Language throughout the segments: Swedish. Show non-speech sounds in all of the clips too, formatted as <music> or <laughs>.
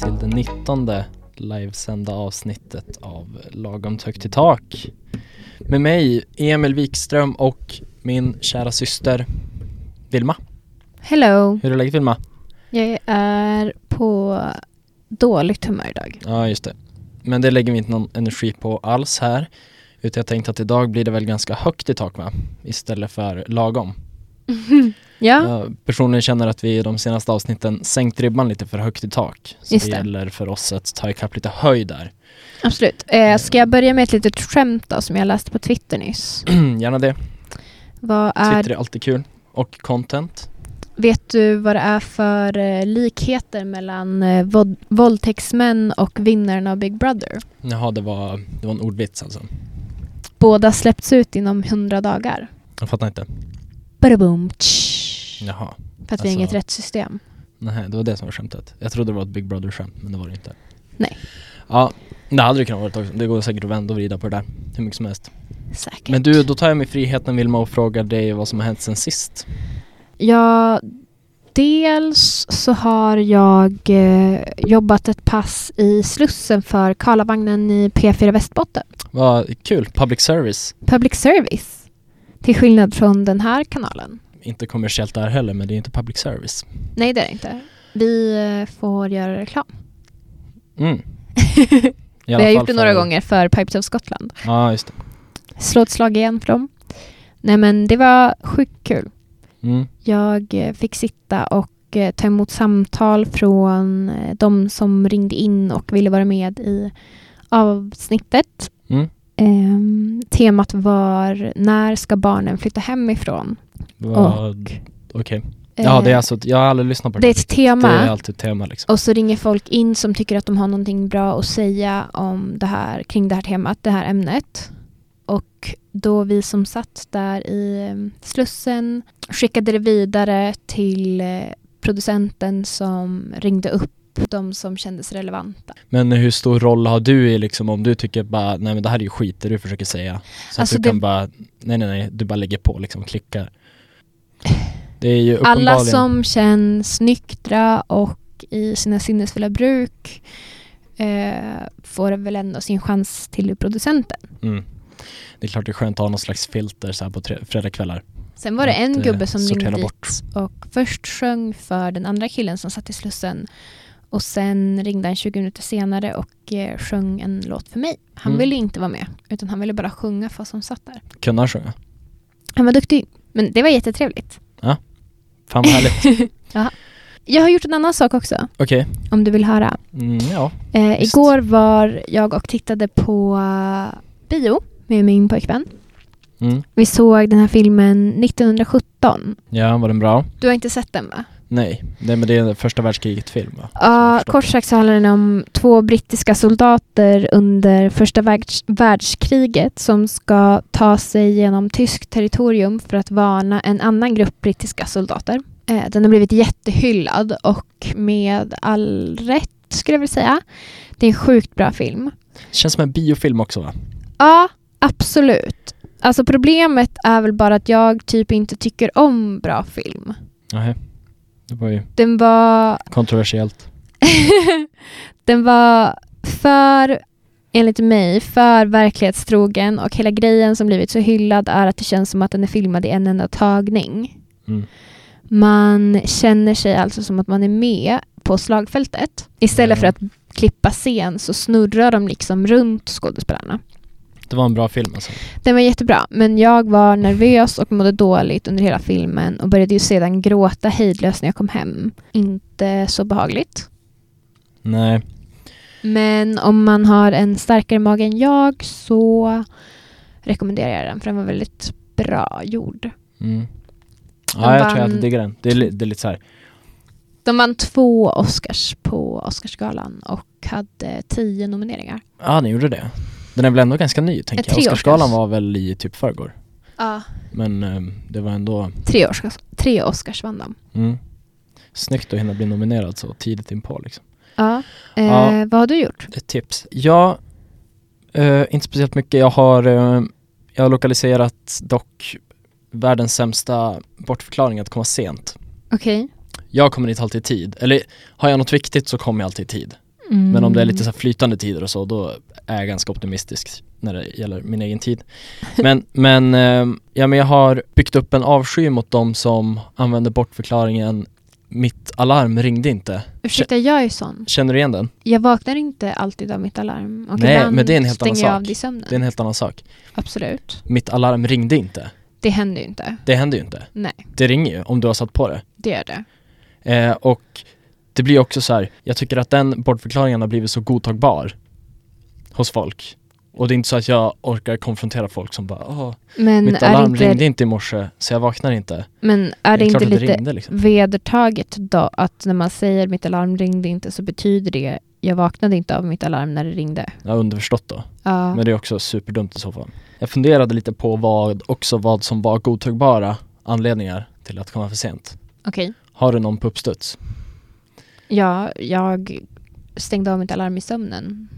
till det 19 livesända avsnittet av Lagom högt i tak. Med mig Emil Wikström och min kära syster Vilma. Hello. Hur är läget Vilma? Jag är på dåligt humör idag. Ja just det. Men det lägger vi inte någon energi på alls här. Utan jag tänkte att idag blir det väl ganska högt i tak va? Istället för lagom. Ja, Jag personligen känner att vi i de senaste avsnitten sänkt ribban lite för högt i tak. Så Just det det. gäller för oss att ta ikapp lite höjd där. <clears throat> absolut. Eh, ska jag börja med ett litet skämt då, som jag läste på Twitter nyss? Gärna det. Vad Twitter är, är alltid kul. Och content. vet du vad det är för eh, likheter mellan eh, vod- våldtäktsmän och vinnaren av Big Brother? Jaha, det var, det var en ordvits alltså. Båda släpps ut inom 100 dagar. Jag fattar inte. Badaboom, tsch. Jaha. För att vi har alltså- inget rättssystem. Nej, det var det som var skämtet. Jag trodde det var ett Big Brother-skämt, men det var det inte. Nej. Ja, det hade det kunnat vara också. Det går säkert att vända och vrida på det där. Hur mycket som helst. Säkert. Men du, då tar jag mig friheten Vilma och frågar dig vad som har hänt sen sist. Ja, dels så har jag eh, jobbat ett pass i Slussen för Karlavagnen i P4 Västbotten. Vad kul. Public service. Public service. Till skillnad från den här kanalen. Inte kommersiellt där heller, men det är inte public service. Nej, det är det inte. Vi eh, får göra reklam. Mm. I alla <laughs> Vi har fall gjort det några för- gånger för Pipes of Scotland. Ja, just det. Slå ett slag igen för dem. Nej, men det var sjukt kul. Mm. Jag eh, fick sitta och eh, ta emot samtal från eh, de som ringde in och ville vara med i avsnittet. Mm. Ehm, temat var när ska barnen flytta hemifrån? Vad... Okej. Ja, det är Eh, alltså... Jag har aldrig lyssnat på det det. är ett tema. Det är alltid ett tema liksom. Och så ringer folk in som tycker att de har någonting bra att säga om det här, kring det här temat, det här ämnet. Och då vi som satt där i eh, Slussen skickade det vidare till eh, producenten som ringde upp de som kändes relevanta. Men hur stor roll har du i liksom om du tycker bara nej men det här är ju skit det du försöker säga Så Alltså att du kan det- bara, nej nej nej, du bara lägger på liksom, klickar Det är ju uppenbarligen Alla som känns nyktra och i sina sinnesfulla bruk eh, får väl ändå sin chans till producenten. mm. Det är klart det är skönt att ha någon slags filter så här på tre- fredagkvällar Sen var det Att, en eh, gubbe som sortera ringde bort. dit och först sjöng för den andra killen som satt i Slussen. Och sen ringde han 20 minuter senare och eh, sjöng en låt för mig. Han Mm. ville inte vara med, utan han ville bara sjunga för oss som satt där. Kunna sjunga, Han var duktig, men det var jättetrevligt. fan vad härligt <laughs> Jag har gjort en annan sak också, Okej, om du vill höra. mm, ja Eh, Visst. igår var jag och tittade på eh, bio med min pojkvän. mm. Vi såg den här filmen 1917. Ja, var den bra? Du har inte sett den va? Nej, nej men det är en första världskriget film va? Som jag Ja, förstått kort sagt så handlar den om två brittiska soldater under första världs- världskriget som ska ta sig genom tyskt territorium för att varna en annan grupp brittiska soldater. Eh, Den har blivit jättehyllad och med all rätt skulle jag vilja säga. Det är en sjukt bra film. det. Känns som en biofilm också va? Ja, absolut. Alltså problemet är väl bara att jag typ inte tycker om bra film. Nej. Det var ju Den var kontroversiellt <laughs> den var för, enligt mig, för verklighetstrogen och hela grejen som blivit så hyllad är att det känns som att den är filmad i en enda tagning. mm. Man känner sig alltså som att man är med på slagfältet. Istället Ja. för att klippa scen så snurrar de liksom runt skådespelarna. Det var en bra film alltså Den var jättebra, men jag var nervös och mådde dåligt under hela filmen och började ju sedan gråta hejdlöst när jag kom hem. Inte så behagligt. Nej, Men om man har en starkare mage än jag så rekommenderar jag den för den var väldigt bra gjord. Mm. De Ja, jag tror jag vann- hade diggat den. Det är, li- det är lite så här. De vann två Oscars på Oscarsgalan och hade tio nomineringar. Ja, den gjorde det. Den är väl ändå ganska ny, tänker Ett jag. tre år Oscarsgalan kanske. var väl i typ förrgår. Ja. Men ehm, det var ändå Tre, Oscars, tre Oscars vann de. mm, snyggt att hinna bli nominerad så tidigt inpå. Liksom. Ja. Eh, Ja. Vad har du gjort? Ett tips. Ja, eh, inte speciellt mycket. Jag har, eh, jag har lokaliserat dock världens sämsta bortförklaring att komma sent. Okej. jag kommer inte alltid i tid. Eller har jag något viktigt så kommer jag alltid i tid. Men om det är lite Mm. så här flytande tider och så, då är jag ganska optimistisk när det gäller min egen tid. Men, <laughs> men, eh, ja, men jag har byggt upp en avsky mot de som använder bortförklaringen mitt alarm ringde inte. Ursäkta, jag är sån. Känner du igen den? Jag vaknar inte alltid av mitt alarm. Och Nej, ibland men det är en helt annan stänger jag sak. av det i sömnen. Det är en helt annan sak. Absolut. Mitt alarm ringde inte. Det händer ju inte. Det händer ju inte. Nej, Det ringer ju om du har satt på det. det gör det. Eh, och det blir också så här, jag tycker att den bortförklaringen har blivit så godtagbar hos folk. Och det är inte så att jag orkar konfrontera folk som bara Åh, Men mitt är det alarm inte, ringde inte i morse så jag vaknar inte. men är det klart inte att det lite ringde liksom. vedertaget då att när man säger mitt alarm ringde inte så betyder det jag vaknade inte av mitt alarm när det ringde. Ja, underförstått då. Mm. Ja, Men det är också superdumt i så fall. Jag funderade lite på vad, också vad som var godtagbara anledningar till att komma för sent. okej. Har du någon på uppstuds? Ja, jag stängde av mitt alarm i sömnen.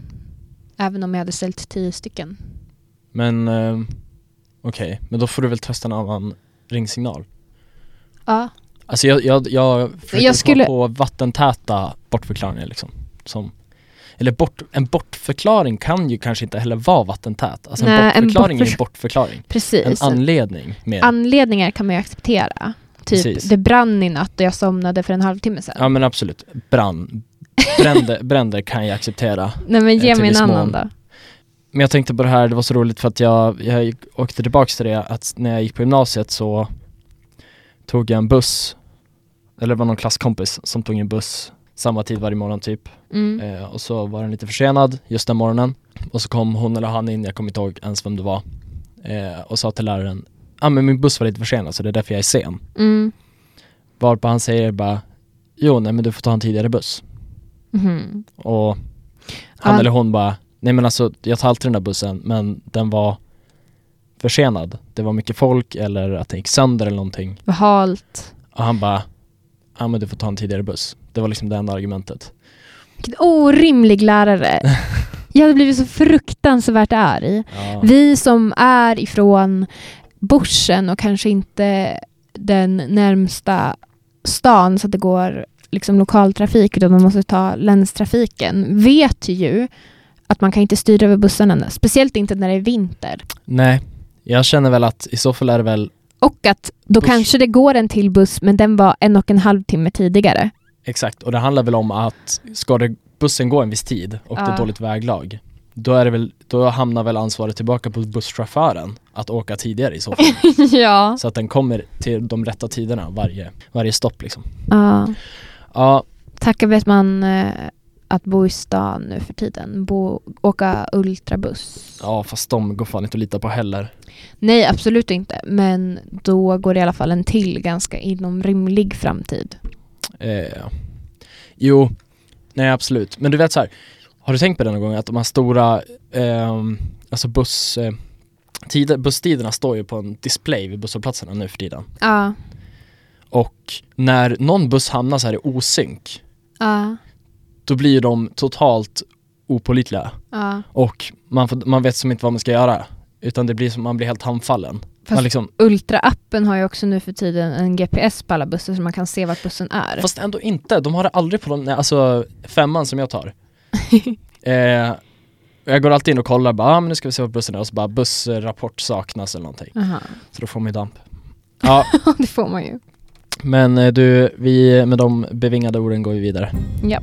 Även om jag hade ställt tio stycken. Men eh, okej, men då får du väl testa en annan ringsignal. Ja, Alltså jag, jag, jag försöker Jag skulle- komma på vattentäta bortförklaringar liksom. Som, eller bort, en bortförklaring kan ju kanske inte heller vara vattentät. Alltså Nej, en en Eh, bortförklaring är ju en bortförs- bortförklaring. En precis. anledning med Anledningar kan man ju acceptera. Typ, Precis. det brann i natt och jag somnade för en halvtimme sedan. Ja men absolut, brann, brände, brände kan jag acceptera. Nej men ge till mig en viss annan mån. då. Men jag tänkte på det här, det var så roligt för att jag, jag gick- åkte tillbaks till det att när jag gick på gymnasiet så tog jag en buss, eller det var någon klasskompis som tog en buss samma tid varje morgon typ. Mm. Eh, och så var den lite försenad just den morgonen. Och så kom hon eller han in, jag kommer inte ihåg ens vem det var. Eh, och sa till läraren, ja ah, men min buss var lite försenad så det är därför jag är sen. Mm. Varpå han säger bara, jo nej men du får ta en tidigare buss. Mhm. Och han Ja. eller hon bara, nej men alltså jag tar alltid den där bussen men den var försenad. Det var mycket folk eller att den gick sönder eller någonting. Vad halt. Och han bara, ja men du får ta en tidigare buss. Det var liksom det enda argumentet. Vilken orimlig lärare. <laughs> Jag hade blivit så fruktansvärt arg. Ja. Vi som är ifrån börsen och kanske inte den närmsta stan så att det går liksom lokaltrafik utan man måste ta länstrafiken vet ju att man kan inte styra över bussarna. Speciellt inte när det är vinter. Nej, jag känner väl att i så fall är det väl Och att då Buss. kanske det går en till buss men den var en och en halv timme tidigare. <laughs> Exakt, och det handlar väl om att ska det, bussen gå en viss tid och det Ja. är dåligt väglag, då, är det väl, då hamnar väl ansvaret tillbaka på busschauffören att åka tidigare i så <laughs> fall. ja. så att den kommer till de rätta tiderna varje, varje stopp liksom. ja. Ja, Tacka vet man eh, att bo i stan nu för tiden. Bo, åka ultrabuss. ja, fast de går fan inte att lita på heller. Nej, absolut inte. Men då går det i alla fall en till ganska inom rimlig framtid. Eh, jo, nej absolut. Men du vet så här, har du tänkt på det någon gång att de här stora, ehm, alltså buss, eh, tider, busstiderna står ju på en display vid busshållplatserna nu för tiden. Ja. Och när någon buss hamnar så här i osynk, Ja. då blir ju de totalt opålitliga. Ja. Och man, får, man vet som inte vad man ska göra. Utan det blir som, man blir helt handfallen. Man Fast- liksom, Ultra-appen har ju också nu för tiden en GPS på alla bussar så man kan se vart bussen är. fast ändå inte, de har det aldrig på de, nej, alltså femman som jag <laughs> tar. eh, jag går alltid in och kollar, bara, ah, men nu ska vi se vart bussen är och så bara bussrapport saknas eller någonting. <laughs> Aha. Så då får man ju damp. <laughs> Ja, det får man ju. men eh, du, vi, med de bevingade orden går vi vidare. Ja.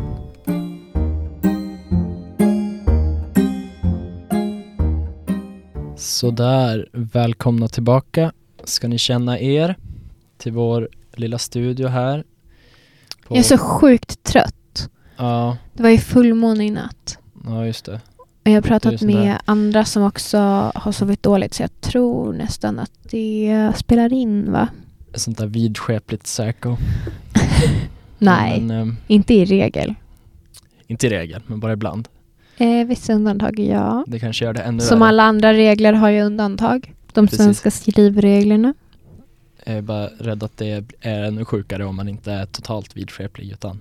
Sådär, välkomna tillbaka ska ni känna er till vår lilla studio här. På- Jag är så sjukt trött. Ja, Det var ju fullmåne i natt. ja just det. Och Jag har Det är pratat sånt med där. andra som också har sovit dåligt så jag tror nästan att det spelar in va? Ett sånt där vidskepligt psycho. Nej, Men, ehm, inte i regel. inte i regel, men bara ibland. Eh, vissa undantag ja. Det kanske gör det ännu Som värre. alla andra regler har ju undantag. De Precis. svenska skrivreglerna. Jag är bara rädd att det är ännu sjukare om man inte är totalt vidskeplig utan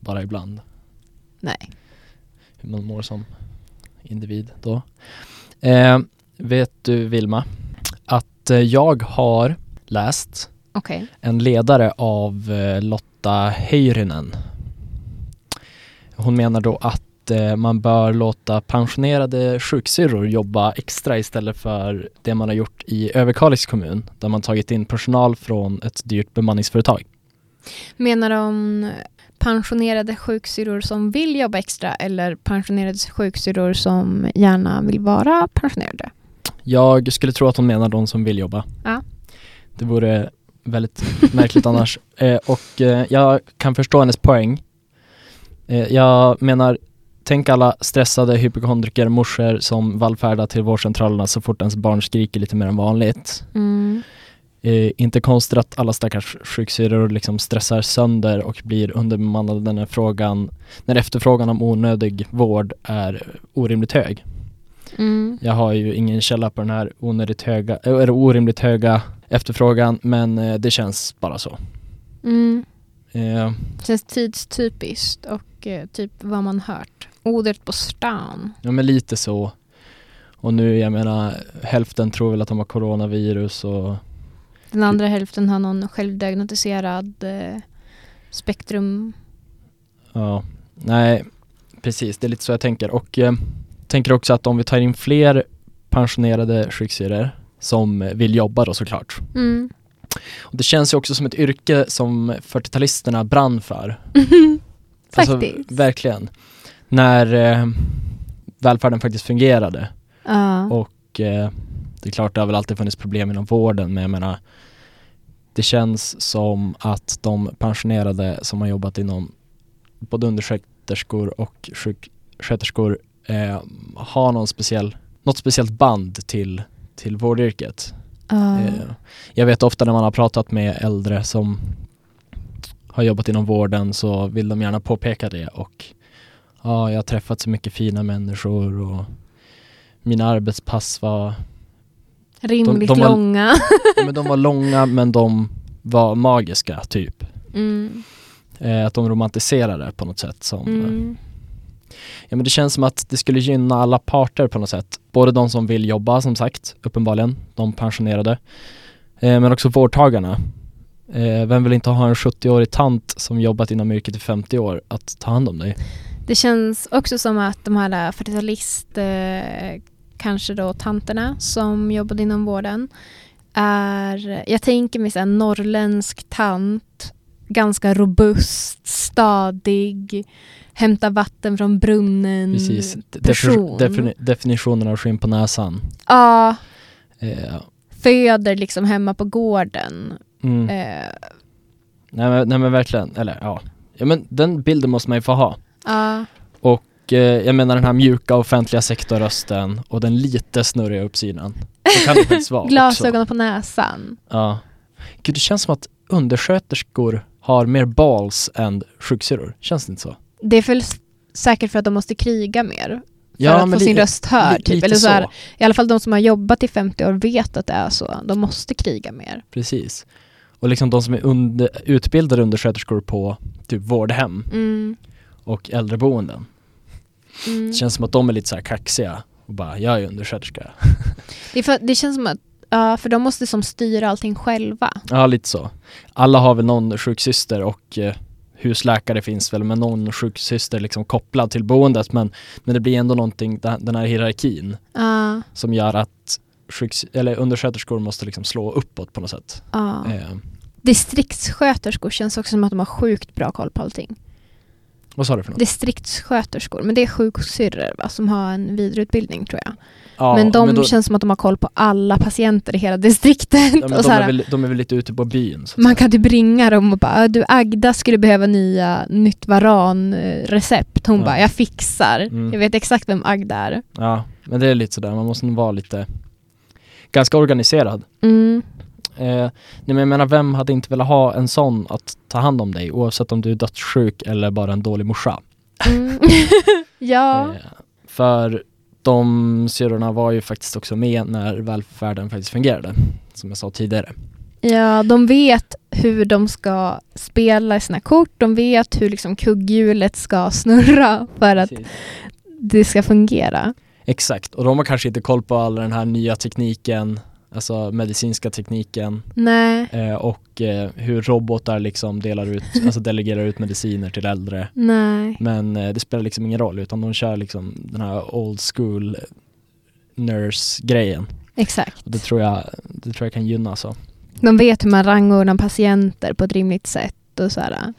bara ibland. Nej. Hur man mår som individ då. Eh, vet du Vilma, att eh, jag har läst Okej. en ledare av eh, Lotta Lotta Heyrinen. Hon menar då att eh, man bör låta pensionerade sjuksyrror jobba extra istället för det man har gjort i Överkalix kommun där man tagit in personal från ett dyrt bemanningsföretag. Menar de pensionerade sjuksyrror som vill jobba extra eller pensionerade sjuksyrror som gärna vill vara pensionerade? Jag skulle tro att hon menar de som vill jobba. Ja. Det vore väldigt märkligt annars. Eh, och eh, jag kan förstå hennes poäng. Eh, jag menar, tänk alla stressade hypokondriker morsor som vallfärdar till vårdcentralerna så fort ens barn skriker lite mer än vanligt. Mm. Eh, inte konstigt att alla stackars sjuksyrror liksom stressar sönder och blir underbemannade när, frågan, när efterfrågan om onödig vård är orimligt hög. Mm. Jag har ju ingen källa på den här onödigt höga, eller orimligt höga efterfrågan men eh, det känns bara så. Mm. Eh, Känns tidstypiskt och eh, typ vad man hört. Odert på stan. ja men lite så. Och nu, jag menar, hälften tror väl att de har coronavirus och Den Typ. andra hälften har någon självdiagnostiserad eh, spektrum. ja, nej precis, det är lite så jag tänker. Och eh, tänker också att om vi tar in fler pensionerade sjuksyrror som vill jobba då såklart. Mm. Och det känns ju också som ett yrke som 40-talisterna brann för. Faktiskt. Alltså, verkligen. När eh, välfärden faktiskt fungerade. ja. Och eh, det är klart, det har väl alltid funnits problem inom vården, men jag menar det känns som att de pensionerade som har jobbat inom både undersköterskor och sjuksköterskor eh, har någon speciell, något speciellt band till, till vårdyrket. Ja. Eh, Jag vet ofta när man har pratat med äldre som har jobbat inom vården så vill de gärna påpeka det och ja, jag har träffat så mycket fina människor och mina arbetspass <laughs> var, Rimligt de var- långa. ja, men de var långa men de var magiska typ. Mm. Eh, Att de romantiserade det på något sätt som Mm. Ja men det känns som att det skulle gynna alla parter på något sätt. Både de som vill jobba som sagt, uppenbarligen, de pensionerade. Eh, men också vårdtagarna. Eh, vem vill inte ha en 70-årig tant som jobbat inom yrket i 50 år att ta hand om dig? Det känns också som att de här äh, 40-talist, eh, kanske då tanterna som jobbade inom vården, är, jag tänker mig så här norrländsk tant, ganska robust, stadig, hämta vatten från brunnen. Precis, De- Mm. person. defini- definitionen av skinn på näsan. Ja, Eh, föder liksom hemma på gården. mm. Eh, nej, men, nej men verkligen, eller ja. ja men den bilden måste man ju få ha. Ja, Och eh, jag menar den här mjuka offentliga sektorrösten och den lite snurriga uppsidan. Det kan det faktiskt <laughs> vara också. glasögon på näsan. Ja. Gud, det känns som att undersköterskor har mer balls än sjuksyrror. Känns det inte så? Det är väl s- säkert för att de måste kriga mer. För Ja, att men få sin li- röst hörd. Li- Typ. lite Eller så så. här, I alla fall de som har jobbat i 50 år vet att det är så. De måste kriga mer. Precis. Och liksom de som är under, utbildade undersköterskor på typ vårdhem Mm. och äldreboenden. Mm. Det känns som att de är lite så här kaxiga och bara, jag är undersköterska. Det, är för, det känns som att, ja, för de måste som styra allting själva. Ja, lite så. Alla har väl någon sjuksyster och eh, husläkare finns väl, men någon sjuksyster liksom kopplad till boendet. Men, men det blir ändå någonting, den här hierarkin. Ja, som gör att sjuks- eller undersköterskor måste liksom slå uppåt på något sätt. ja. Eh, Distriktssköterskor känns också som att de har sjukt bra koll på allting. vad sa du för något? Distriktssköterskor, men det är sjuksyrror va, som har en vidareutbildning tror jag. Ja, men de då- känns som att de har koll på alla patienter i hela distriktet. ja, men och de, så är här, väl, de är väl lite ute på byn. Så att Man kan typ ringa dem och bara du Agda skulle behöva nya nytt varanrecept. Hon Ja. bara jag fixar. Mm. Jag vet exakt vem Agda är. säga. ja, men det är lite sådär, man måste nog vara lite ganska organiserad. <laughs> Mm. Eh, nej, men jag menar, vem hade inte velat ha en sån att ta hand om dig oavsett om du är dödssjuk eller bara en dålig morsa? Mm. ja. Eh, för de syrrorna var ju faktiskt också med när välfärden faktiskt fungerade, som jag sa tidigare. ja, de vet hur de ska spela sina kort. De vet hur liksom kugghjulet ska snurra för att Precis. det ska fungera. Exakt, och de har kanske inte koll på all den här nya tekniken Alltså medicinska tekniken Nej. eh, och eh, hur robotar liksom delar <laughs> ut, alltså delegerar ut mediciner till äldre. Nej. Men eh, det spelar liksom ingen roll utan de kör liksom den här old school nurse-grejen. Exakt. Och Det tror jag, det tror jag kan gynna så. De vet hur man rangordnar patienter på ett rimligt sätt och så här.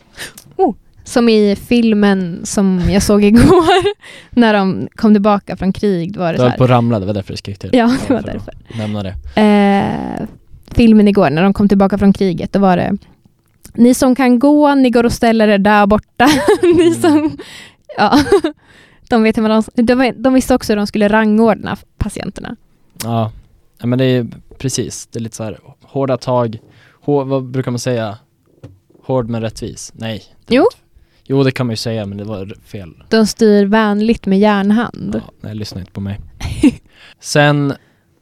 Oh, som i filmen som jag såg <laughs> igår när de kom tillbaka från krig. Var det Det så höll här. på att ramla, det var därför jag skrek till. Ja, det var för att därför. Nämna det. Eh, filmen igår när de kom tillbaka från kriget, då var det ni som kan gå, ni går och ställer er där borta. <laughs> <laughs> ni Mm. som... Ja. De, vet hur man, de, de visste också hur de skulle rangordna patienterna. Ja, ja, men det är precis. Det är lite så här hårda tag. Hår, vad brukar man säga? Hård men rättvis? Nej. det Jo. var- Jo, det kan man ju säga, men det var fel. De styr vänligt med järnhand. Ja, nej, lyssna inte på mig. <laughs> Sen,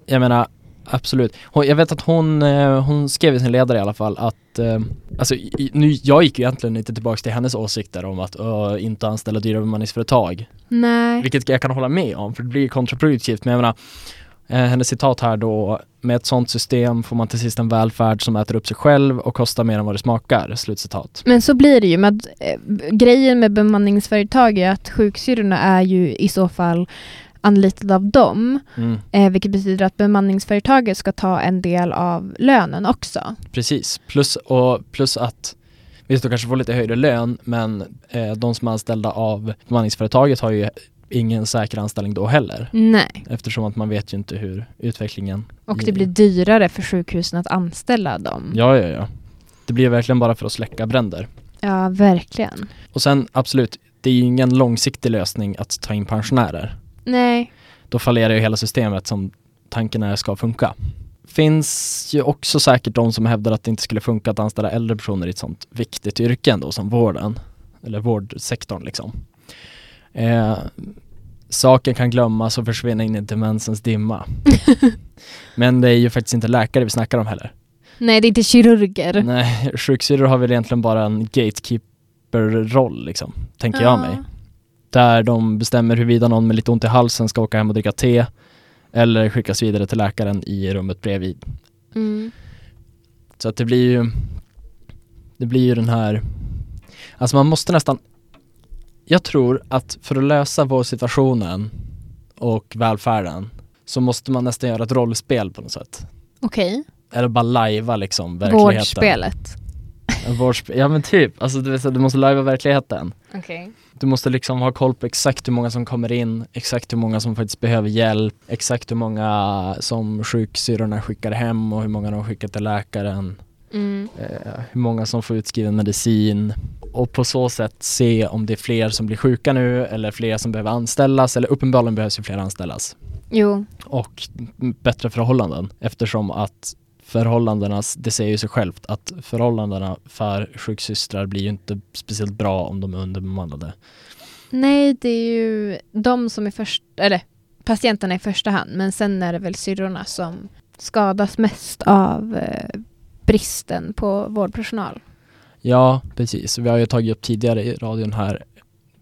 jag menar, absolut. Hon, jag vet att hon, eh, hon skrev i sin ledare i alla fall att, eh, alltså i- i- nu, jag gick ju egentligen inte tillbaks till hennes åsikter om att ö, inte anställa dyra bemanningsföretag. Nej. Vilket jag kan hålla med om, för det blir kontraproduktivt. Men jag menar, eh, hennes citat här då, med ett sånt system får man till sist en välfärd som äter upp sig själv och kostar mer än vad det smakar. Slutcitat. Men så blir det ju. Med att, eh, grejen med bemanningsföretag är att sjuksyrrorna är ju i så fall anlitade av dem. Mm, Eh, vilket betyder att bemanningsföretaget ska ta en del av lönen också. precis. Plus, och, plus att Visst, de kanske får lite högre lön, men eh, de som är anställda av bemanningsföretaget har ju ingen säker anställning då heller. Nej. Eftersom att man vet ju inte hur utvecklingen... Och det blir dyrare för sjukhusen att anställa dem. Mm. Ja, ja, ja. Det blir verkligen bara för att släcka bränder. Ja, verkligen. Och sen absolut, det är ju ingen långsiktig lösning att ta in pensionärer. Nej. Då fallerar ju hela systemet som tanken är ska funka. Finns ju också säkert de som hävdar att det inte skulle funka att anställa äldre personer i ett sånt viktigt yrke ändå som vården, eller vårdsektorn liksom. Eh, saken kan glömmas och försvinna in i demensens <laughs> dimma. Men det är ju faktiskt inte läkare vi snackar om heller. Nej, det är inte kirurger. Nej, sjuksyrror har väl egentligen bara en gatekeeper-roll liksom, tänker Ah. jag mig. Där de bestämmer huruvida någon med lite ont i halsen ska åka hem och dricka te eller skickas vidare till läkaren i rummet bredvid. Mm. Så att det blir ju det blir ju den här alltså man måste nästan jag tror att för att lösa vår situationen och välfärden så måste man nästan göra ett rollspel på något sätt. Okej. Eller bara lajva liksom verkligheten. Vårdspelet. En vårdspel. Ja men typ, alltså du, vet, så här, du måste lajva verkligheten. Okej. Du måste liksom ha koll på exakt hur många som kommer in, exakt hur många som faktiskt behöver hjälp, exakt hur många som sjuksyrrorna skickar hem och hur många de skickar till läkaren, Mm. eh, hur många som får utskriven medicin och på så sätt se om det är fler som blir sjuka nu eller fler som behöver anställas eller uppenbarligen behövs ju fler anställas Jo. och m- bättre förhållanden eftersom att förhållandena, det säger ju sig självt att förhållandena för sjuksystrar blir ju inte speciellt bra om de är underbemannade. Nej, det är ju de som är först, eller patienterna i första hand, men sen är det väl syrrorna som skadas mest av eh, bristen på vårdpersonal. Ja, precis. Vi har ju tagit upp tidigare i radion här.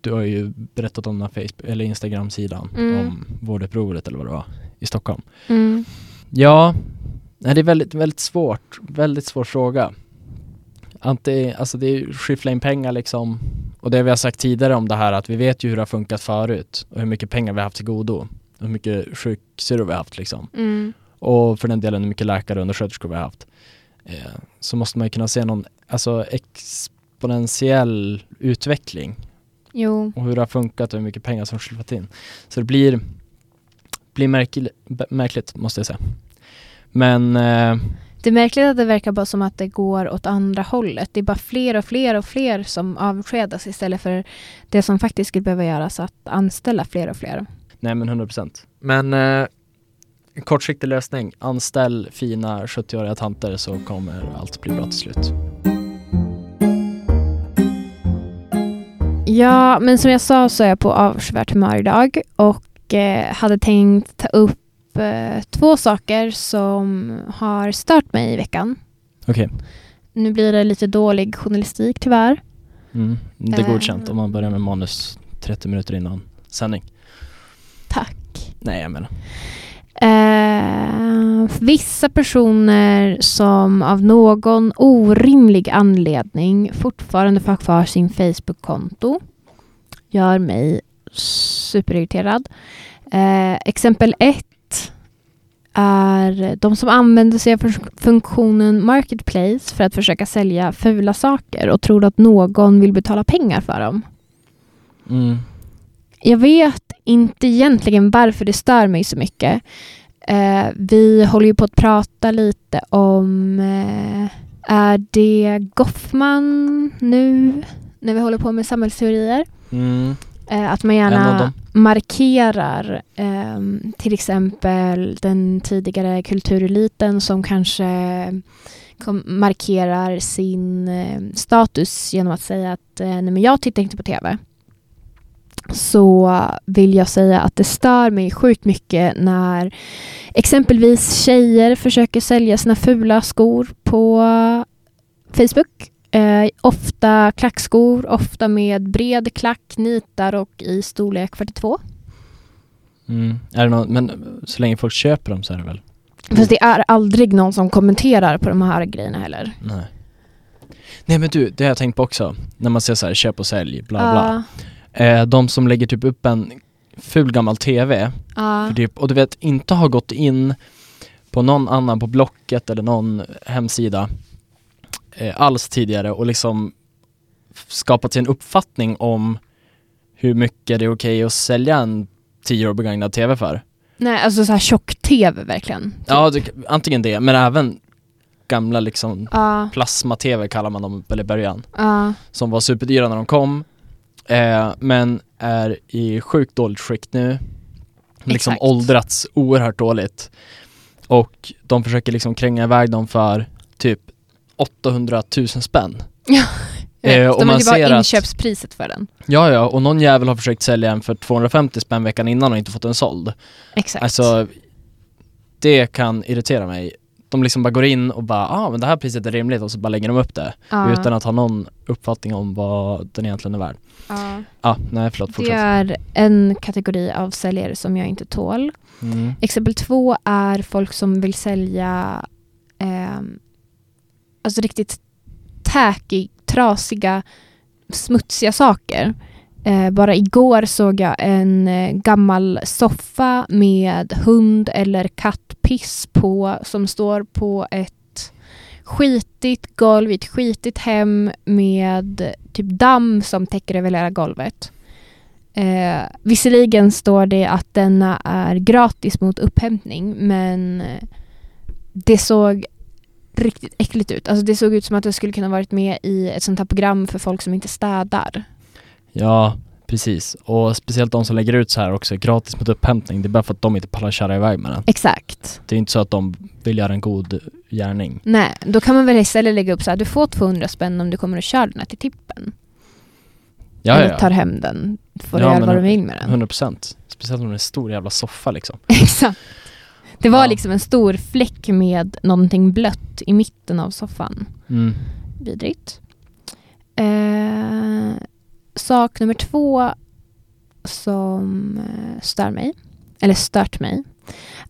Du har ju berättat om den här Facebook eller Instagram-sidan Mm. om vårdupproret eller vad det var i Stockholm. Ja, nej, det är väldigt, väldigt svårt. Väldigt svår fråga. Ante, alltså det är ju skyffla in pengar liksom. Och det vi har sagt tidigare om det här att vi vet ju hur det har funkat förut och hur mycket pengar vi har haft till godo. Och hur mycket sjuksyrror vi har haft liksom Mm. och för den delen hur mycket läkare och undersköterskor vi har haft eh, så måste man ju kunna se någon alltså exponentiell utveckling Jo. och hur det har funkat och hur mycket pengar som slipat in. Så det blir, blir märkil, b- märkligt måste jag säga. Men eh, Det är märkligt att det verkar bara som att det går åt andra hållet. Det är bara fler och fler och fler som avskedas istället för det som faktiskt skulle behöva göras, att anställa fler och fler. nej men 100 procent. Men eh, en kortsiktig lösning, anställ fina 70-åriga tanter så kommer allt bli bra till slut. Ja, men som jag sa så är jag på avskyvärt humör idag och eh, hade tänkt ta upp eh, två saker som har stört mig i veckan. Okej, Nu blir det lite dålig journalistik tyvärr. mm, det Eh. är godkänt om man börjar med manus 30 minuter innan sändning. Tack. Nej jag menar. Eh, vissa personer som av någon orimlig anledning fortfarande får ha kvar sin Facebook-konto gör mig superirriterad. Eh, exempel ett är de som använder sig av fun- funktionen Marketplace för att försöka sälja fula saker och tror att någon vill betala pengar för dem. Mm. Jag vet inte egentligen varför det stör mig så mycket. Eh, vi håller ju på att prata lite om, eh, är det Goffman nu när vi håller på med samhällsteorier? Mm. Eh, att man En av gärna dem. markerar ehm, till exempel den tidigare kultureliten som kanske kom, markerar sin eh, status genom att säga att eh, nej men jag tittar inte på tv. Så vill jag säga att det stör mig sjukt mycket när exempelvis tjejer försöker sälja sina fula skor på Facebook. Eh, ofta klackskor, ofta med bred klack, nitar och i storlek 42. Mm. Är det någon, men så länge folk köper dem så är det väl? Fast det är aldrig någon som kommenterar på de här grejerna heller. Nej. Nej men du, det har jag tänkt på också. När man ser så här köp och sälj, bla bla. Ja, Eh, de som lägger typ upp en ful gammal TV ja. för typ, och du vet inte har gått in på någon annan på Blocket eller någon hemsida eh, alls tidigare och liksom skapat sig en uppfattning om hur mycket det är okej att sälja en 10 år begagnad TV för. Nej, alltså så här tjock-tv verkligen. Ja, det, antingen det, men även gamla liksom Ja, plasma-TV kallar man dem väl i början, ja, som var superdyra när de kom, eh, men är i sjukt dåligt skick nu. Liksom Exakt. åldrats oerhört dåligt. Och de försöker liksom kränga iväg dem för typ 800 000 <laughs> spänn. jag vet. Eh, och de man vill bara ser att- inköpspriset för den. Ja, ja, och någon jävel har försökt sälja en för 250 spänn veckan innan och inte fått den såld. Exakt. Alltså, det kan irritera mig. De liksom bara går in och bara, ah men det här priset är rimligt och så bara lägger de upp det. Ja, Utan att ha någon uppfattning om vad den egentligen är värd. ja. Ah, nej förlåt, Det fortsätt. är en kategori av säljare som jag inte tål. Mm. Exempel två är folk som vill sälja ehm, alltså riktigt tacky, trasiga, smutsiga saker. Eh, bara igår såg jag en eh, gammal soffa med hund eller kattpiss på som står på ett skitigt golv i ett skitigt hem med typ damm som täcker över hela golvet. Eh, visserligen står det att denna är gratis mot upphämtning men det såg riktigt äckligt ut. Alltså det såg ut som att det skulle kunna varit med i ett sånt här program för folk som inte städar. Ja, precis. Och speciellt de som lägger ut så här också, gratis mot upphämtning, det är bara för att de inte pallar köra iväg med den. Exakt. Det är inte så att de vill göra en god gärning. Nej, då kan man väl istället lägga upp så här, du får 200 spänn om du kommer och kör den här till tippen. Ja, Eller tar ja, hem den. Får Ja, du göra men- vad du vill med ja. den. 100 procent. Speciellt om det är en stor jävla soffa liksom. <laughs> Exakt. Det var Ja. liksom en stor fläck med någonting blött i mitten av soffan. Mm. Vidrigt. Eh, sak nummer två som eh, stör mig, eller stört mig.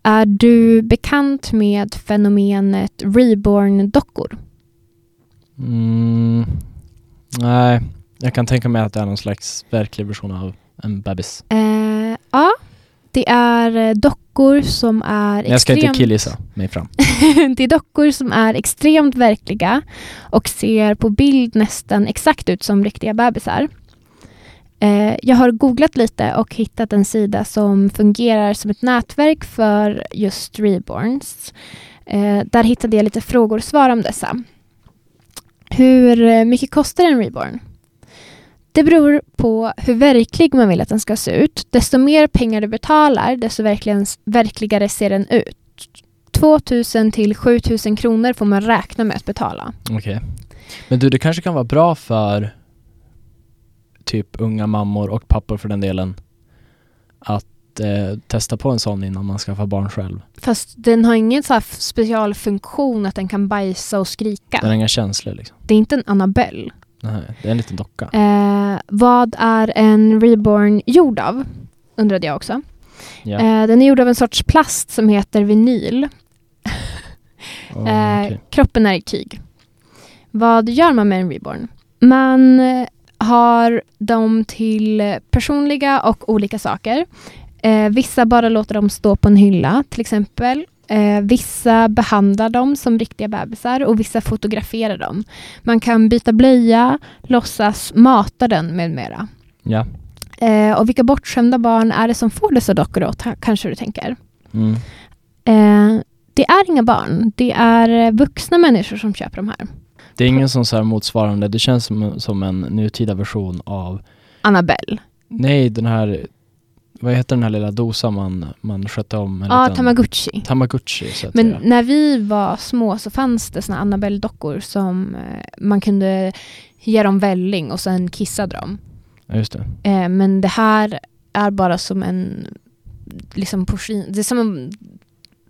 Är du bekant med fenomenet reborn-dockor? Mm. Nej, jag kan tänka mig att det är någon slags verklig version av en bebis. Eh, ja, det är eh, dockor som är Men jag ska extremt... inte killgissa mig fram. <laughs> det är dockor som är extremt verkliga och ser på bild nästan exakt ut som riktiga bebisar. Eh, Jag har googlat lite och hittat en sida som fungerar som ett nätverk för just reborns. Eh, Där hittade jag lite frågor och svar om dessa. Hur eh, mycket kostar en reborn? Det beror på hur verklig man vill att den ska se ut. Desto mer pengar du betalar, desto verkligen, verkligare ser den ut. 2 000 till 7 000 kronor får man räkna med att betala. Okej. Men du, det kanske kan vara bra för typ unga mammor och pappor för den delen att eh, testa på en sån innan man skaffar barn själv. Fast den har ingen så här f- specialfunktion att den kan bajsa och skrika. Den har inga känslor liksom. Det är inte en Annabelle. Nej, det är en liten docka. Eh, vad är en reborn gjord av? Undrade jag också. Ja. Eh, den är gjord av en sorts plast som heter vinyl. Ja, okej. Eh, kroppen är i tyg. Vad gör man med en reborn? Man eh, har dem till personliga och olika saker. Eh, vissa bara låter dem stå på en hylla till exempel. Eh, vissa behandlar dem som riktiga bebisar och vissa fotograferar dem. Man kan byta blöja, låtsas mata den med mera. Ja. Eh, och vilka bortskämda barn är det som får dessa dockor då, ta- kanske du tänker? Mm. Eh, det är inga barn, det är eh, vuxna människor som köper de här. Det är ingen sån så här motsvarande, det känns som, som en nutida version av, Annabelle. nej den här, vad heter den här lilla dosan man, man skötte om? En Ja, liten- Tamagotchi. Tamagotchi så att Men säga. när vi var små så fanns det såna Annabelle-dockor som eh, man kunde ge dem välling och sen kissade dem. Ja, just det. Eh, men det här är bara som en liksom porslin, det är som en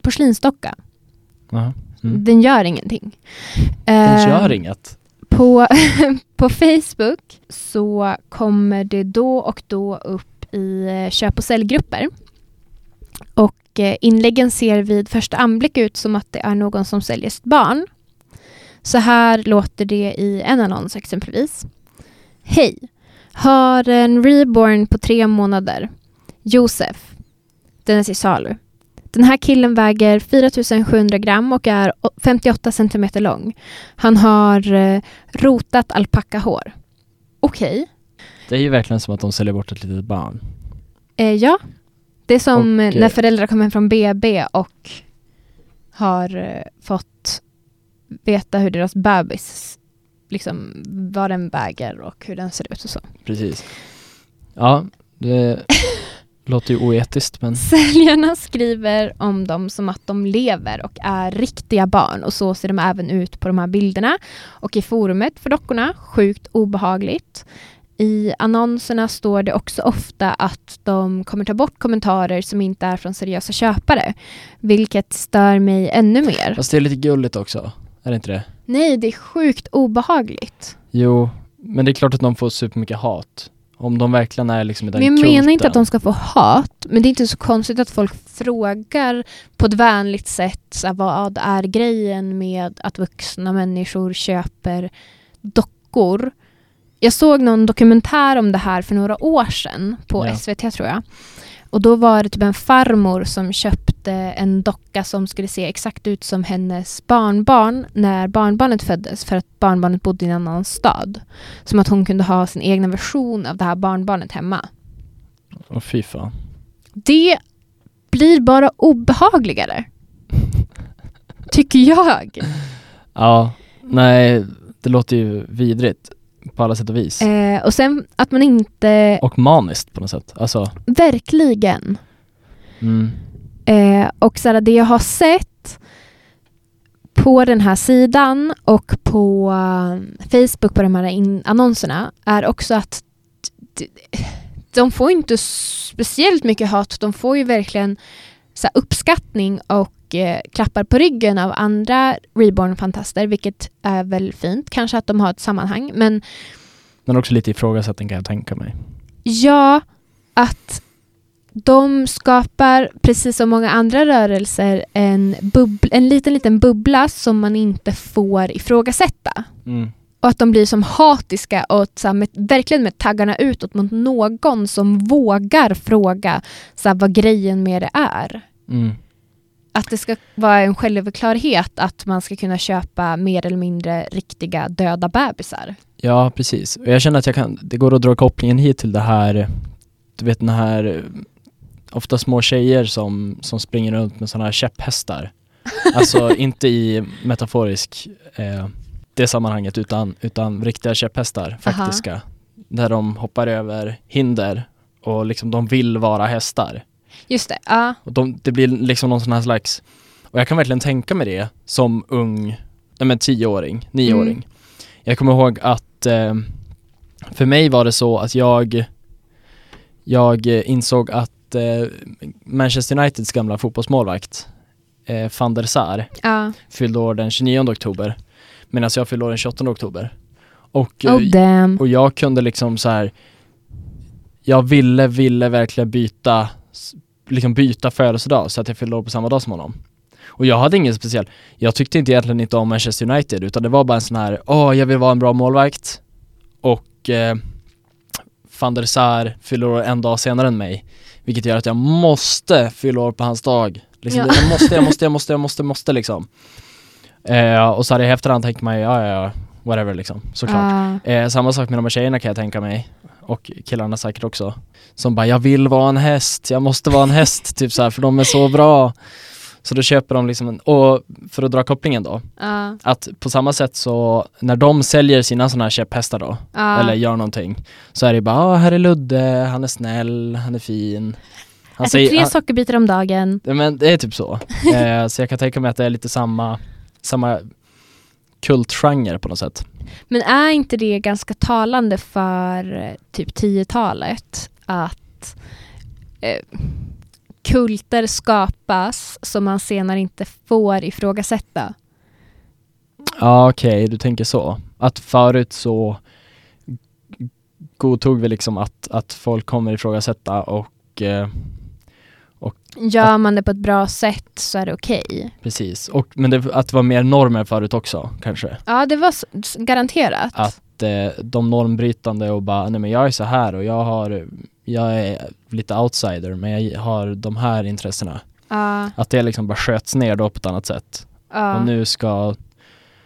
porslinsdocka. Jaha. Mm. Den gör ingenting. Den Eh, gör inget. På, <laughs> på Facebook så kommer det då och då upp i eh, köp och säljgrupper. Och eh, inläggen ser vid första anblick ut som att det är någon som säljer sitt barn. Så här låter det i en annons exempelvis. Hej! Har en reborn på tre månader. Josef. Den är till salu. Den här killen väger 4700 gram och är o- 58 centimeter lång. Han har eh, rotat alpackahår. Okej. Det är ju verkligen som att de säljer bort ett litet barn. Eh, ja. Det är som Och, eh, när föräldrar kommer hem från BB och har eh, fått veta hur deras bebis, liksom vad den väger och hur den ser ut och så. Precis. Ja, <laughs> det låter ju oetiskt men Säljarna skriver om dem som att de lever och är riktiga barn och så ser de även ut på de här bilderna. Och i forumet för dockorna, sjukt obehagligt. I annonserna står det också ofta att de kommer ta bort kommentarer som inte är från seriösa köpare, vilket stör mig ännu mer. fast det är lite gulligt också, är det inte det? Nej, det är sjukt obehagligt. Jo, men det är klart att de får supermycket hat. Om de verkligen är liksom i den Men jag kulten. menar inte att de ska få hat, men det är inte så konstigt att folk frågar på ett vänligt sätt så här, vad är grejen med att vuxna människor köper dockor. Jag såg någon dokumentär om det här för några år sedan på Ja. SVT tror jag. Och då var det typ en farmor som köpte en docka som skulle se exakt ut som hennes barnbarn när barnbarnet föddes för att barnbarnet bodde i en annan stad. Som att hon kunde ha sin egna version av det här barnbarnet hemma. Åh, fy fan. Det blir bara obehagligare. Tycker jag. Ja, nej, det låter ju vidrigt på alla sätt och vis. Eh, och sen att man inte Och maniskt på något sätt. Alltså, verkligen mm, Eh, och så här, det jag har sett på den här sidan och på eh, Facebook på de här in- annonserna är också att d- d- de får inte speciellt mycket hat. De får ju verkligen så här, uppskattning och eh, klappar på ryggen av andra reborn-fantaster, vilket är väl fint. Kanske att de har ett sammanhang. Men men också lite ifrågasättning kan jag tänka mig. Ja, att de skapar, precis som många andra rörelser, en, bubbl- en liten, liten bubbla som man inte får ifrågasätta. Mm. Och att de blir som hatiska och så här, med, verkligen med taggarna utåt mot någon som vågar fråga så här, vad grejen med det är. Mm. Att det ska vara en självklarhet att man ska kunna köpa mer eller mindre riktiga döda bebisar. Ja, precis. Och jag känner att jag kan, det går att dra kopplingen hit till det här, du vet den här, eh, ofta små tjejer som, som springer runt med sådana här käpphästar. Alltså inte i metaforisk, eh, det sammanhanget, utan, utan riktiga käpphästar, faktiska. Där de hoppar över hinder och liksom de vill vara hästar. Just det, ja. Och de, det blir liksom någon sån här slags, och jag kan verkligen tänka mig det som ung, nej men tioåring, nioåring. Jag kommer ihåg att eh, för mig var det så att jag, jag eh, insåg att eh, Manchester Uniteds gamla fotbollsmålvakt, eh, van der Sar, ja. fyllde år den 29 oktober. Medan jag fyllde år den 28 oktober. Och, eh, Oh damn. och jag kunde liksom så här. Jag ville, ville verkligen byta, s- liksom byta födelsedag så att jag fyllde år på samma dag som honom. Och jag hade ingen speciell, jag tyckte inte egentligen inte om Manchester United utan det var bara en sån här, åh jag vill vara en bra målvakt och eh, van der Sar fyller år en dag senare än mig. Vilket gör att jag måste fylla år på hans dag. Liksom, Ja. Jag måste, jag måste, jag måste, jag måste, måste liksom. Eh, och så här i efterhand tänker man ju, ja ja ja, whatever liksom, såklart. Ah, Eh, samma sak med de här tjejerna kan jag tänka mig. Och killarna säkert också. Som bara, jag vill vara en häst, jag måste vara en häst, <laughs> typ så här, för de är så bra. Så då köper de liksom, en, och för att dra kopplingen då, ah, att på samma sätt så när de säljer sina sådana här käpphästar då, ah. eller gör någonting, så är det bara, ah, här är Ludde, han är snäll, han är fin. Han Äter Alltså, tre sockerbitar om dagen. Ja, Men det är typ så. Eh, så jag kan tänka mig att det är lite samma, samma kultgenre på något sätt. Men är inte det ganska talande för eh, typ 10-talet att eh, kulter skapas som man senare inte får ifrågasätta? Ja okej, du tänker så. Att förut så godtog vi liksom att, att folk kommer ifrågasätta och eh, Gör man det på ett bra sätt så är det okej. precis. Och, men det, att det var mer normer förut också kanske. Ja, det var s- s- garanterat. Att eh, de normbrytande och bara, nej men jag är så här och jag har, jag är lite outsider men jag har de här intressena. Ja, Att det liksom bara sköts ner då på ett annat sätt. ja. Och nu ska,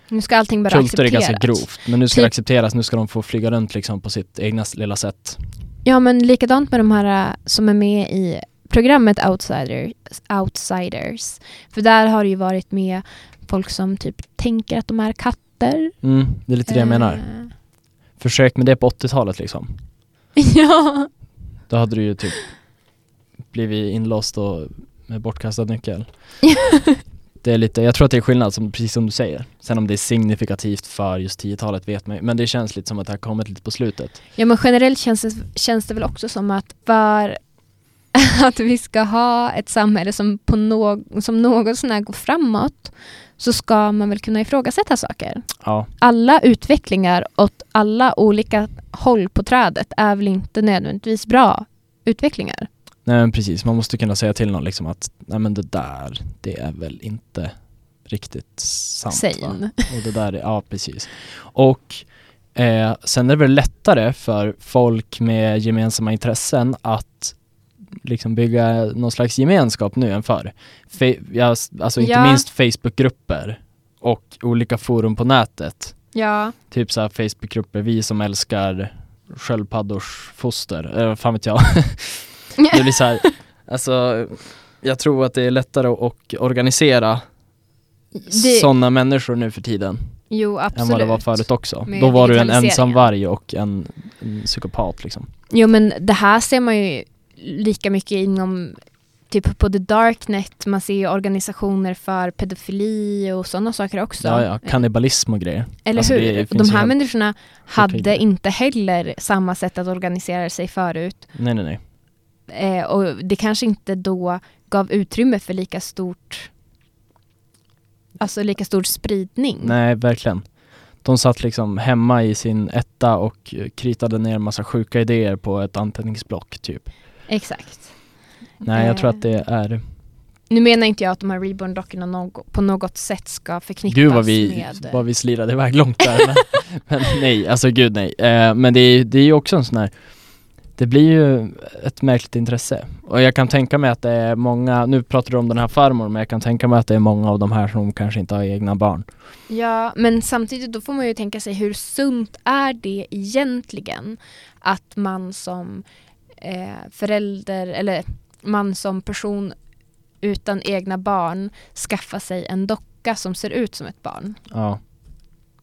nu ska allting bara kulter är ganska accepteras. grovt, men nu ska Typ- det accepteras, nu ska de få flyga runt liksom på sitt egna lilla sätt. Ja, men likadant med de här äh, som är med i programmet Outsiders. Outsiders. För där har det ju varit med folk som typ tänker att de är katter. Mm, det är lite det jag menar. Eh, försök med det på 80-talet liksom. <laughs> ja. Då hade du ju typ blivit inlåst och med bortkastad nyckel. det är lite, jag tror att det är skillnad, som, precis som du säger. Sen om det är signifikativt för just 10-talet vet man ju, men det känns lite som att det har kommit lite på slutet. ja, men generellt känns det, känns det väl också som att för <laughs> att vi ska ha ett samhälle som, på no, som något sånär går framåt så ska man väl kunna ifrågasätta saker. Ja, alla utvecklingar åt alla olika håll på trädet är väl inte nödvändigtvis bra utvecklingar? nej men precis, man måste kunna säga till någon liksom att nej men det där, det är väl inte riktigt sant. va? Sane. Och det där, är- ja precis. Och eh, sen är det väl lättare för folk med gemensamma intressen att liksom bygga någon slags gemenskap nu än förr. Fe- ja, s- alltså inte Ja. minst Facebookgrupper och olika forum på nätet. <laughs> <laughs> Ja. Typ så här Facebookgrupper, vi som älskar sköldpaddors foster, eller vad fan vet jag. det blir <laughs> så här, alltså jag tror att det är lättare att- att organisera Det, sådana människor nu för tiden jo, än absolut. vad det var förut också. Med Då var du en digitaliseringen. ensam varg och en, en psykopat liksom. Jo, men det här ser man ju lika mycket inom typ på the darknet. Man ser ju organisationer för pedofili och sådana saker också. Eh, Ja, ja, kannibalism och grejer. Eller alltså, det hur? finns De ju här helt- människorna hade Förtydliga. inte heller samma sätt att organisera sig förut. Nej, nej, nej. Eh, och det kanske inte då gav utrymme för lika stort Alltså lika stor spridning. Nej, verkligen. De satt liksom hemma i sin etta och eh, kritade ner massa sjuka idéer på ett anteckningsblock typ. Exakt. Nej, jag tror Eh. att det är... Nu menar inte jag att de här Reborn-dockorna någ- på något sätt ska förknippas Gud vad vi, med... vad vi slirade iväg långt där. <laughs> men, men nej, alltså gud nej. Eh, men det är ju det är ju också en sån här, det blir ju ett märkligt intresse. Och jag kan tänka mig att det är många, nu pratar du om den här farmor, men jag kan tänka mig att det är många av de här som kanske inte har egna barn. Ja, men samtidigt då får man ju tänka sig hur sunt är det egentligen att man som eh, förälder eller man som person utan egna barn skaffar sig en docka som ser ut som ett barn. Ja.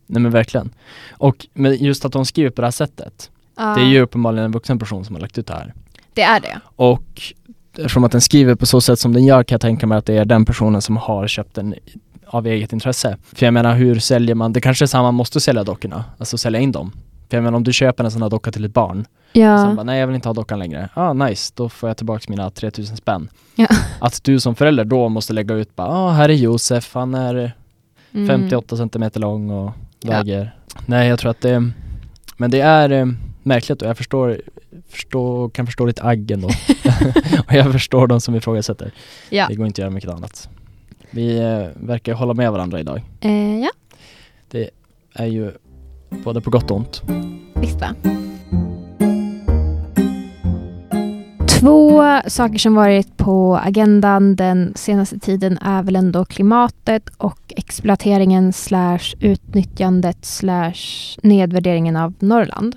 Nej men verkligen. Och men just att de skriver på det här sättet, Ja, det är ju uppenbarligen en vuxen person som har lagt ut det här. det är det. Och eftersom att den skriver på så sätt som den gör kan jag tänka mig att det är den personen som har köpt den av eget intresse. För jag menar hur säljer man, det kanske är samma man måste sälja dockorna, alltså sälja in dem. För jag menar om du köper en sån här docka till ett barn, Ja. sen bara nej jag vill inte ha dockan längre, ah nice, då får jag tillbaks mina 3000 spänn. Ja. <laughs> Att du som förälder då måste lägga ut bara, ah här är Josef, han är Mm. 58 centimeter lång och Ja. väger. Nej jag tror att det, men det är eh, märkligt och jag förstår, förstår kan förstå <laughs> ditt agg ändå. och jag förstår de som ifrågasätter. <laughs> Ja. <laughs> Det går inte att göra mycket annat. Vi eh, verkar hålla med varandra idag. Eh, ja, Är ju både på gott och ont. visst va? Två saker som varit på agendan den senaste tiden är väl ändå klimatet och exploateringen slash utnyttjandet slash nedvärderingen av Norrland.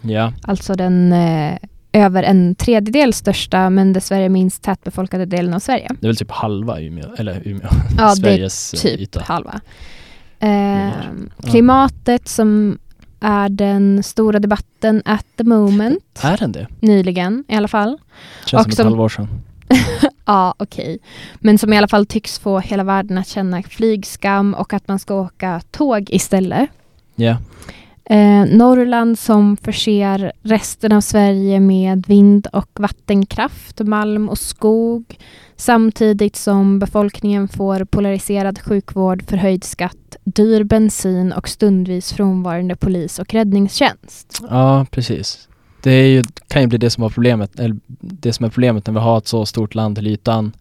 Ja, Alltså den eh, över en tredjedel största men dessvärre minst tätbefolkade delen av Sverige. det är väl typ halva Umeå, eller Umeå, Ja, det <laughs> är Sveriges eh, typ yta. halva. Ungefär. Ehm, klimatet som är den stora debatten at the moment, Är den det? nyligen i alla fall. Känns Och som ett som- halvår sedan. Ja, okej. Men som i alla fall tycks få hela världen att känna flygskam och att man ska åka tåg istället. Ja, Eh, Norrland som förser resten av Sverige med vind och vattenkraft, malm och skog samtidigt som befolkningen får polariserad sjukvård, förhöjd skatt, dyr bensin och stundvis frånvarande polis och räddningstjänst. ja precis. Det är ju, kan ju bli det som var problemet, eller det som är problemet när vi har ett så stort land till ytan.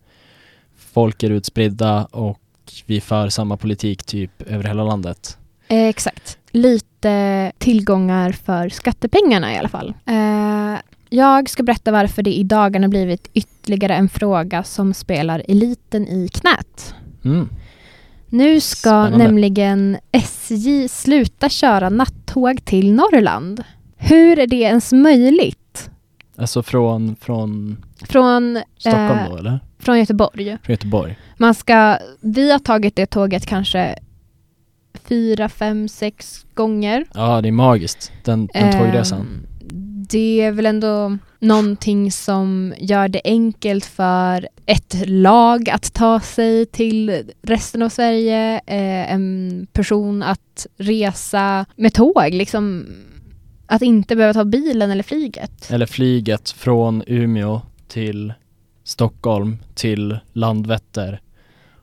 Folk är utspridda och vi för samma politik typ över hela landet. Eh, exakt. Lite tillgångar för skattepengarna i alla fall. Eh, jag ska berätta varför det i dagarna blivit ytterligare en fråga som spelar eliten i knät. Mm. Nu ska Spännande. nämligen SJ sluta köra nattåg till Norrland. Hur är det ens möjligt? Alltså från, från Från, Stockholm Eh. då eller? från Göteborg. Från Göteborg? Man ska, vi har tagit det tåget kanske fyra, fem, sex gånger. Ja, det är magiskt. Den, den Ehm, tågresan. Det är väl ändå någonting som gör det enkelt för ett lag att ta sig till resten av Sverige, eh, en person att resa med tåg, liksom att inte behöva ta bilen eller flyget. Eller flyget från Umeå till Stockholm till Landvetter.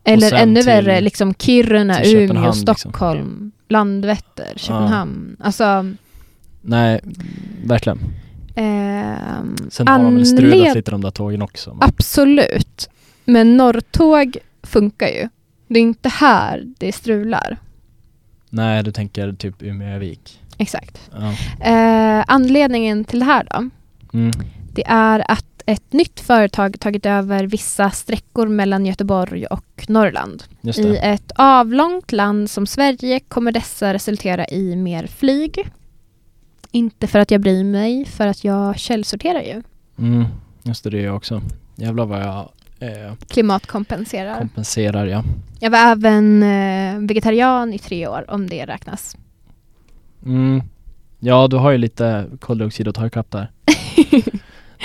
Eller sen ännu till- värre, liksom Kiruna, till Köpenhamn, Umeå, liksom. Stockholm, Landvetter, Köpenhamn. Alltså, Nej, verkligen. ehm, Sen har de väl strulat anled- lite de där tågen också. men- Absolut. Men norrtåg funkar ju. Det är inte här det strular. Nej, du tänker typ Umeåvik. Exakt. Ja. Eh, anledningen till det här då? Mm. Det är att ett nytt företag tagit över vissa sträckor mellan Göteborg och Norrland. Just I det. ett avlångt land som Sverige kommer dessa resultera i mer flyg. Inte för att jag bryr mig, för att jag källsorterar ju. Mm. Just det, det är jag också. Jävlar vad jag eh, Klimatkompenserar. kompenserar, ja. jag var även eh, vegetarian i tre år, om det räknas. Mm. Ja, du har ju lite koldioxid att ta ikapp <laughs> där.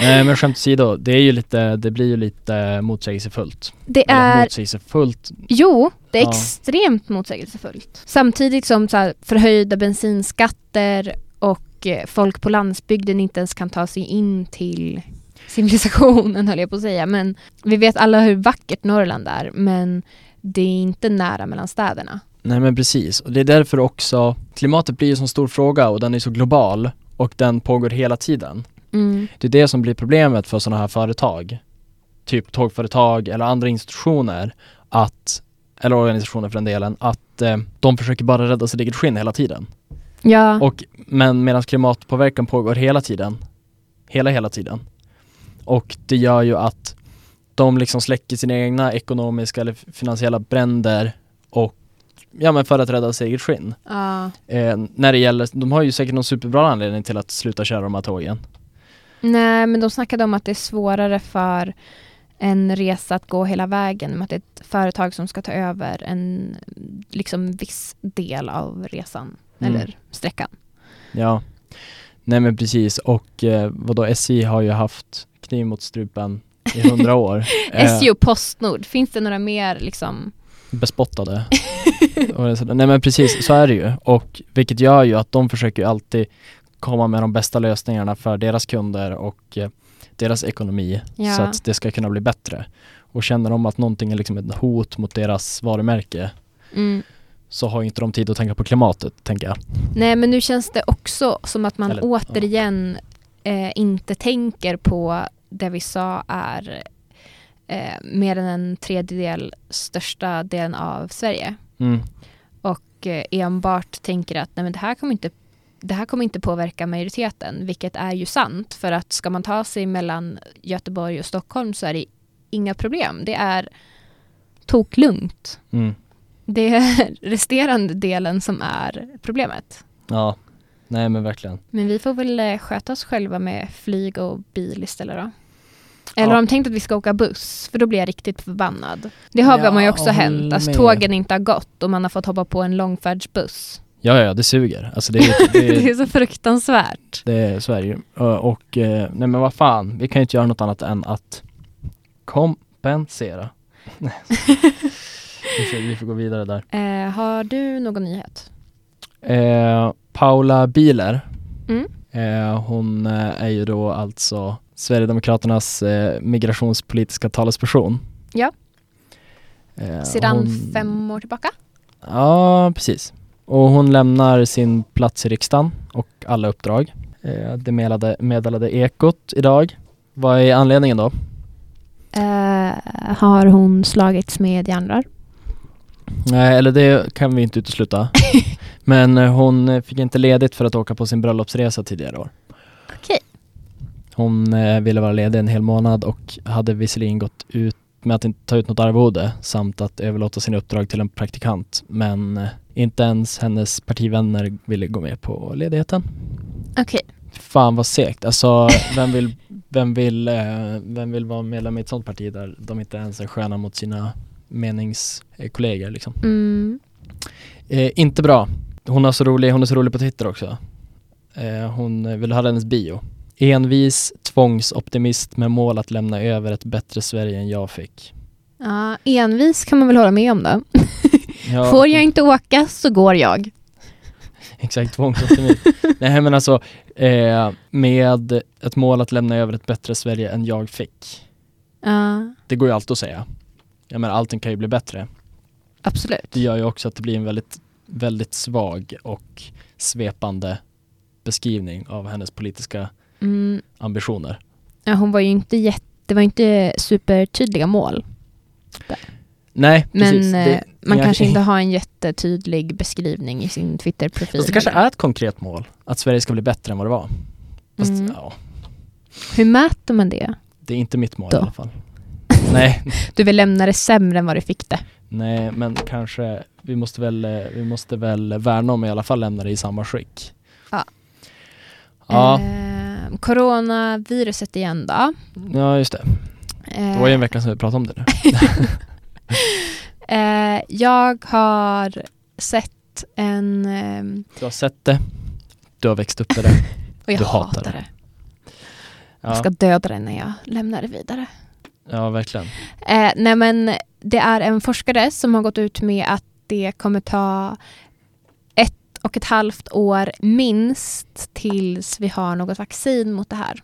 Nej, men skämt åsido, det är ju lite, det blir ju lite motsägelsefullt. Det Eller är, motsägelsefullt. jo, det är Ja. extremt motsägelsefullt. Samtidigt som så här, förhöjda bensinskatter och eh, folk på landsbygden inte ens kan ta sig in till civilisationen <laughs> höll jag på att säga. Men vi vet alla hur vackert Norrland är men det är inte nära mellan städerna. Nej men precis, och det är därför också klimatet blir ju en sån stor fråga och den är så global och den pågår hela tiden. Det är det som blir problemet för sådana här företag, typ tågföretag eller andra institutioner, att, eller organisationer för den delen, att eh, de försöker bara rädda sitt eget skinn hela tiden. Ja, Och, men medan klimatpåverkan pågår hela tiden, hela hela tiden, och det gör ju att de liksom släcker sina egna ekonomiska eller finansiella bränder och, ja men för att rädda sitt eget skinn. ja. Eh, när det gäller, de har ju säkert någon superbra anledning till att sluta köra de här tågen. nej men de snackade om att det är svårare för en resa att gå hela vägen med att det är ett företag som ska ta över en liksom viss del av resan. Mm. eller sträckan. Ja, nej men precis och eh, vadå SJ har ju haft kniv mot strupen i <laughs> hundra år. SJ och Postnord, finns det några mer liksom? bespottade. Och så- nej men precis, så är det ju och vilket gör ju att de försöker ju alltid komma med de bästa lösningarna för deras kunder och eh, deras ekonomi Ja. så att det ska kunna bli bättre. Och känner de att någonting är liksom ett hot mot deras varumärke Mm. så har ju inte de tid att tänka på klimatet, tänker jag. Nej men nu känns det också som att man Eller- återigen eh, inte tänker på det vi sa är eh, mer än en tredjedel största delen av Sverige Mm. och eh, enbart tänker att nej, men det, här kommer inte, det här kommer inte påverka majoriteten, vilket är ju sant. För att ska man ta sig mellan Göteborg och Stockholm så är det inga problem. Det är toklugnt. Mm. Det är <laughs> resterande delen som är problemet. Ja, nej men verkligen. Men vi får väl eh, sköta oss själva med flyg och bil istället då. Eller Ja. har de tänkt att vi ska åka buss? För då blir jag riktigt förbannad. Det har väl man ju Ja, också hänt. håller Alltså med. tågen inte har gått och man har fått hoppa på en långfärdsbuss. <laughs> Ja, ja, ja, det suger. Alltså det, är- det, Det är- är så fruktansvärt. det är Sverige. Och eh, nej men vad fan, vi kan ju inte göra något annat än att <laughs> kompensera. Nej. vi, får, vi får gå vidare där. Eh, har du någon nyhet? Eh, Paula Biler. Mm. Eh, hon eh, är ju då alltså Sverigedemokraternas eh, migrationspolitiska talesperson. Ja. Eh, Sedan hon- fem år tillbaka? Ja, precis. Och hon lämnar sin plats i riksdagen och alla uppdrag. Eh, det meddelade, meddelade Ekot idag. Vad är anledningen då? Eh, har hon slagits med järnrör? Nej, eller det kan vi inte utesluta. Men eh, hon eh, fick inte ledigt för att åka på sin bröllopsresa tidigare år. Okej. Hon eh, ville vara ledig en hel månad och hade visserligen gått ut med att inte ta ut något arvode samt att överlåta sina uppdrag till en praktikant. Men eh, inte ens hennes partivänner ville gå med på ledigheten. Okej. Fan vad segt. Alltså vem vill, vem vill, eh, vem vill vara medlem i ett sånt parti där de inte ens är sköna mot sina meningskollegor liksom. Mm. Eh, inte bra. Hon är, så rolig, hon är så rolig på Twitter också. Eh, hon eh, vill ha hennes bio. Envis tvångsoptimist med mål att lämna över ett bättre Sverige än jag fick. Ja, envis kan man väl hålla med om då. Ja, Får jag inte åka så går jag. <laughs> Exakt, <laughs> tvångsoptimist. Nej men alltså, eh, med ett mål att lämna över ett bättre Sverige än jag fick. Ja, Det går ju alltid att säga. Jag menar allting kan ju bli bättre. absolut. Det gör ju också att det blir en väldigt, väldigt svag och svepande beskrivning av hennes politiska Mm. ambitioner. Ja, hon var ju inte jätte, det var inte supertydliga mål. Nej, Men precis. eh, man jag- <laughs> kanske inte har en jättetydlig beskrivning i sin Twitterprofil. Fast det kanske är ett konkret mål, att Sverige ska bli bättre än vad det var. Fast Mm. ja, Hur mäter man det? det är inte mitt mål Då. i alla fall. <laughs> nej, Du vill lämna det sämre än vad du fick det. nej, men kanske, vi måste, väl, eh, vi måste väl värna om i alla fall lämna det i samma skick. Ja. Ja, Eh, coronaviruset igen då. ja just det. Det Eh, var ju en vecka sedan vi pratade om det nu. eh, jag har sett en... ehm, Du har sett det, eh. du har växt upp med <laughs> det. och jag Du hatar hatar, det. Jag Ja, ska döda det när jag lämnar det vidare. ja verkligen. Eh, nej men det är en forskare som har gått ut med att det kommer ta ett och ett halvt år minst tills vi har något vaccin mot det här.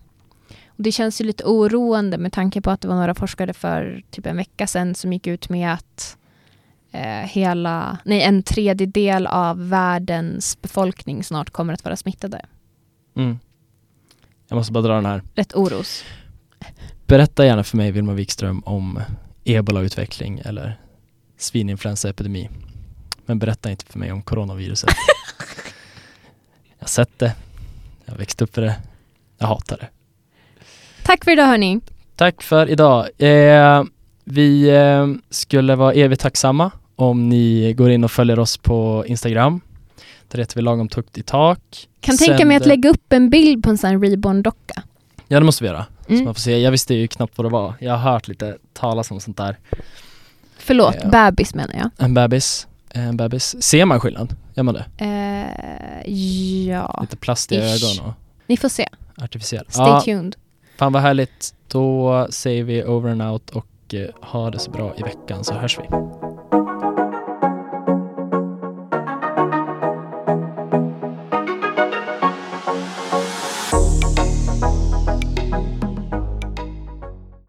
Och det känns ju lite oroande med tanke på att det var några forskare för typ en vecka sedan som gick ut med att eh, hela, nej, en tredjedel av världens befolkning snart kommer att vara smittade. Mm. Jag måste bara dra den här. Rätt oros. Berätta gärna för mig, Vilma Wikström, om ebolautveckling eller svininfluensaepidemi. Men berätta inte för mig om <laughs> coronaviruset. jag har sett det, jag har växt upp med det, jag hatar det. Tack för idag hörni. Tack för idag. Eh, vi eh, skulle vara evigt tacksamma om ni går in och följer oss på Instagram. Där heter vi lagom tukt i tak. Kan tänka mig att Sänder- lägga upp en bild på en sån här reborn-docka. Ja det måste vi göra. Så Mm. man får se. Jag visste ju knappt vad det var. Jag har hört lite talas om sånt där. Förlåt, Ja. bebis menar jag. En bebis, en bebis. Ser man skillnad? Gör man det? Eh, ja, Lite plast i Ish. ögon ni får se. och artificiell. Stay ja, tuned. fan vad härligt. Då säger vi over and out och eh, ha det så bra i veckan så hörs vi.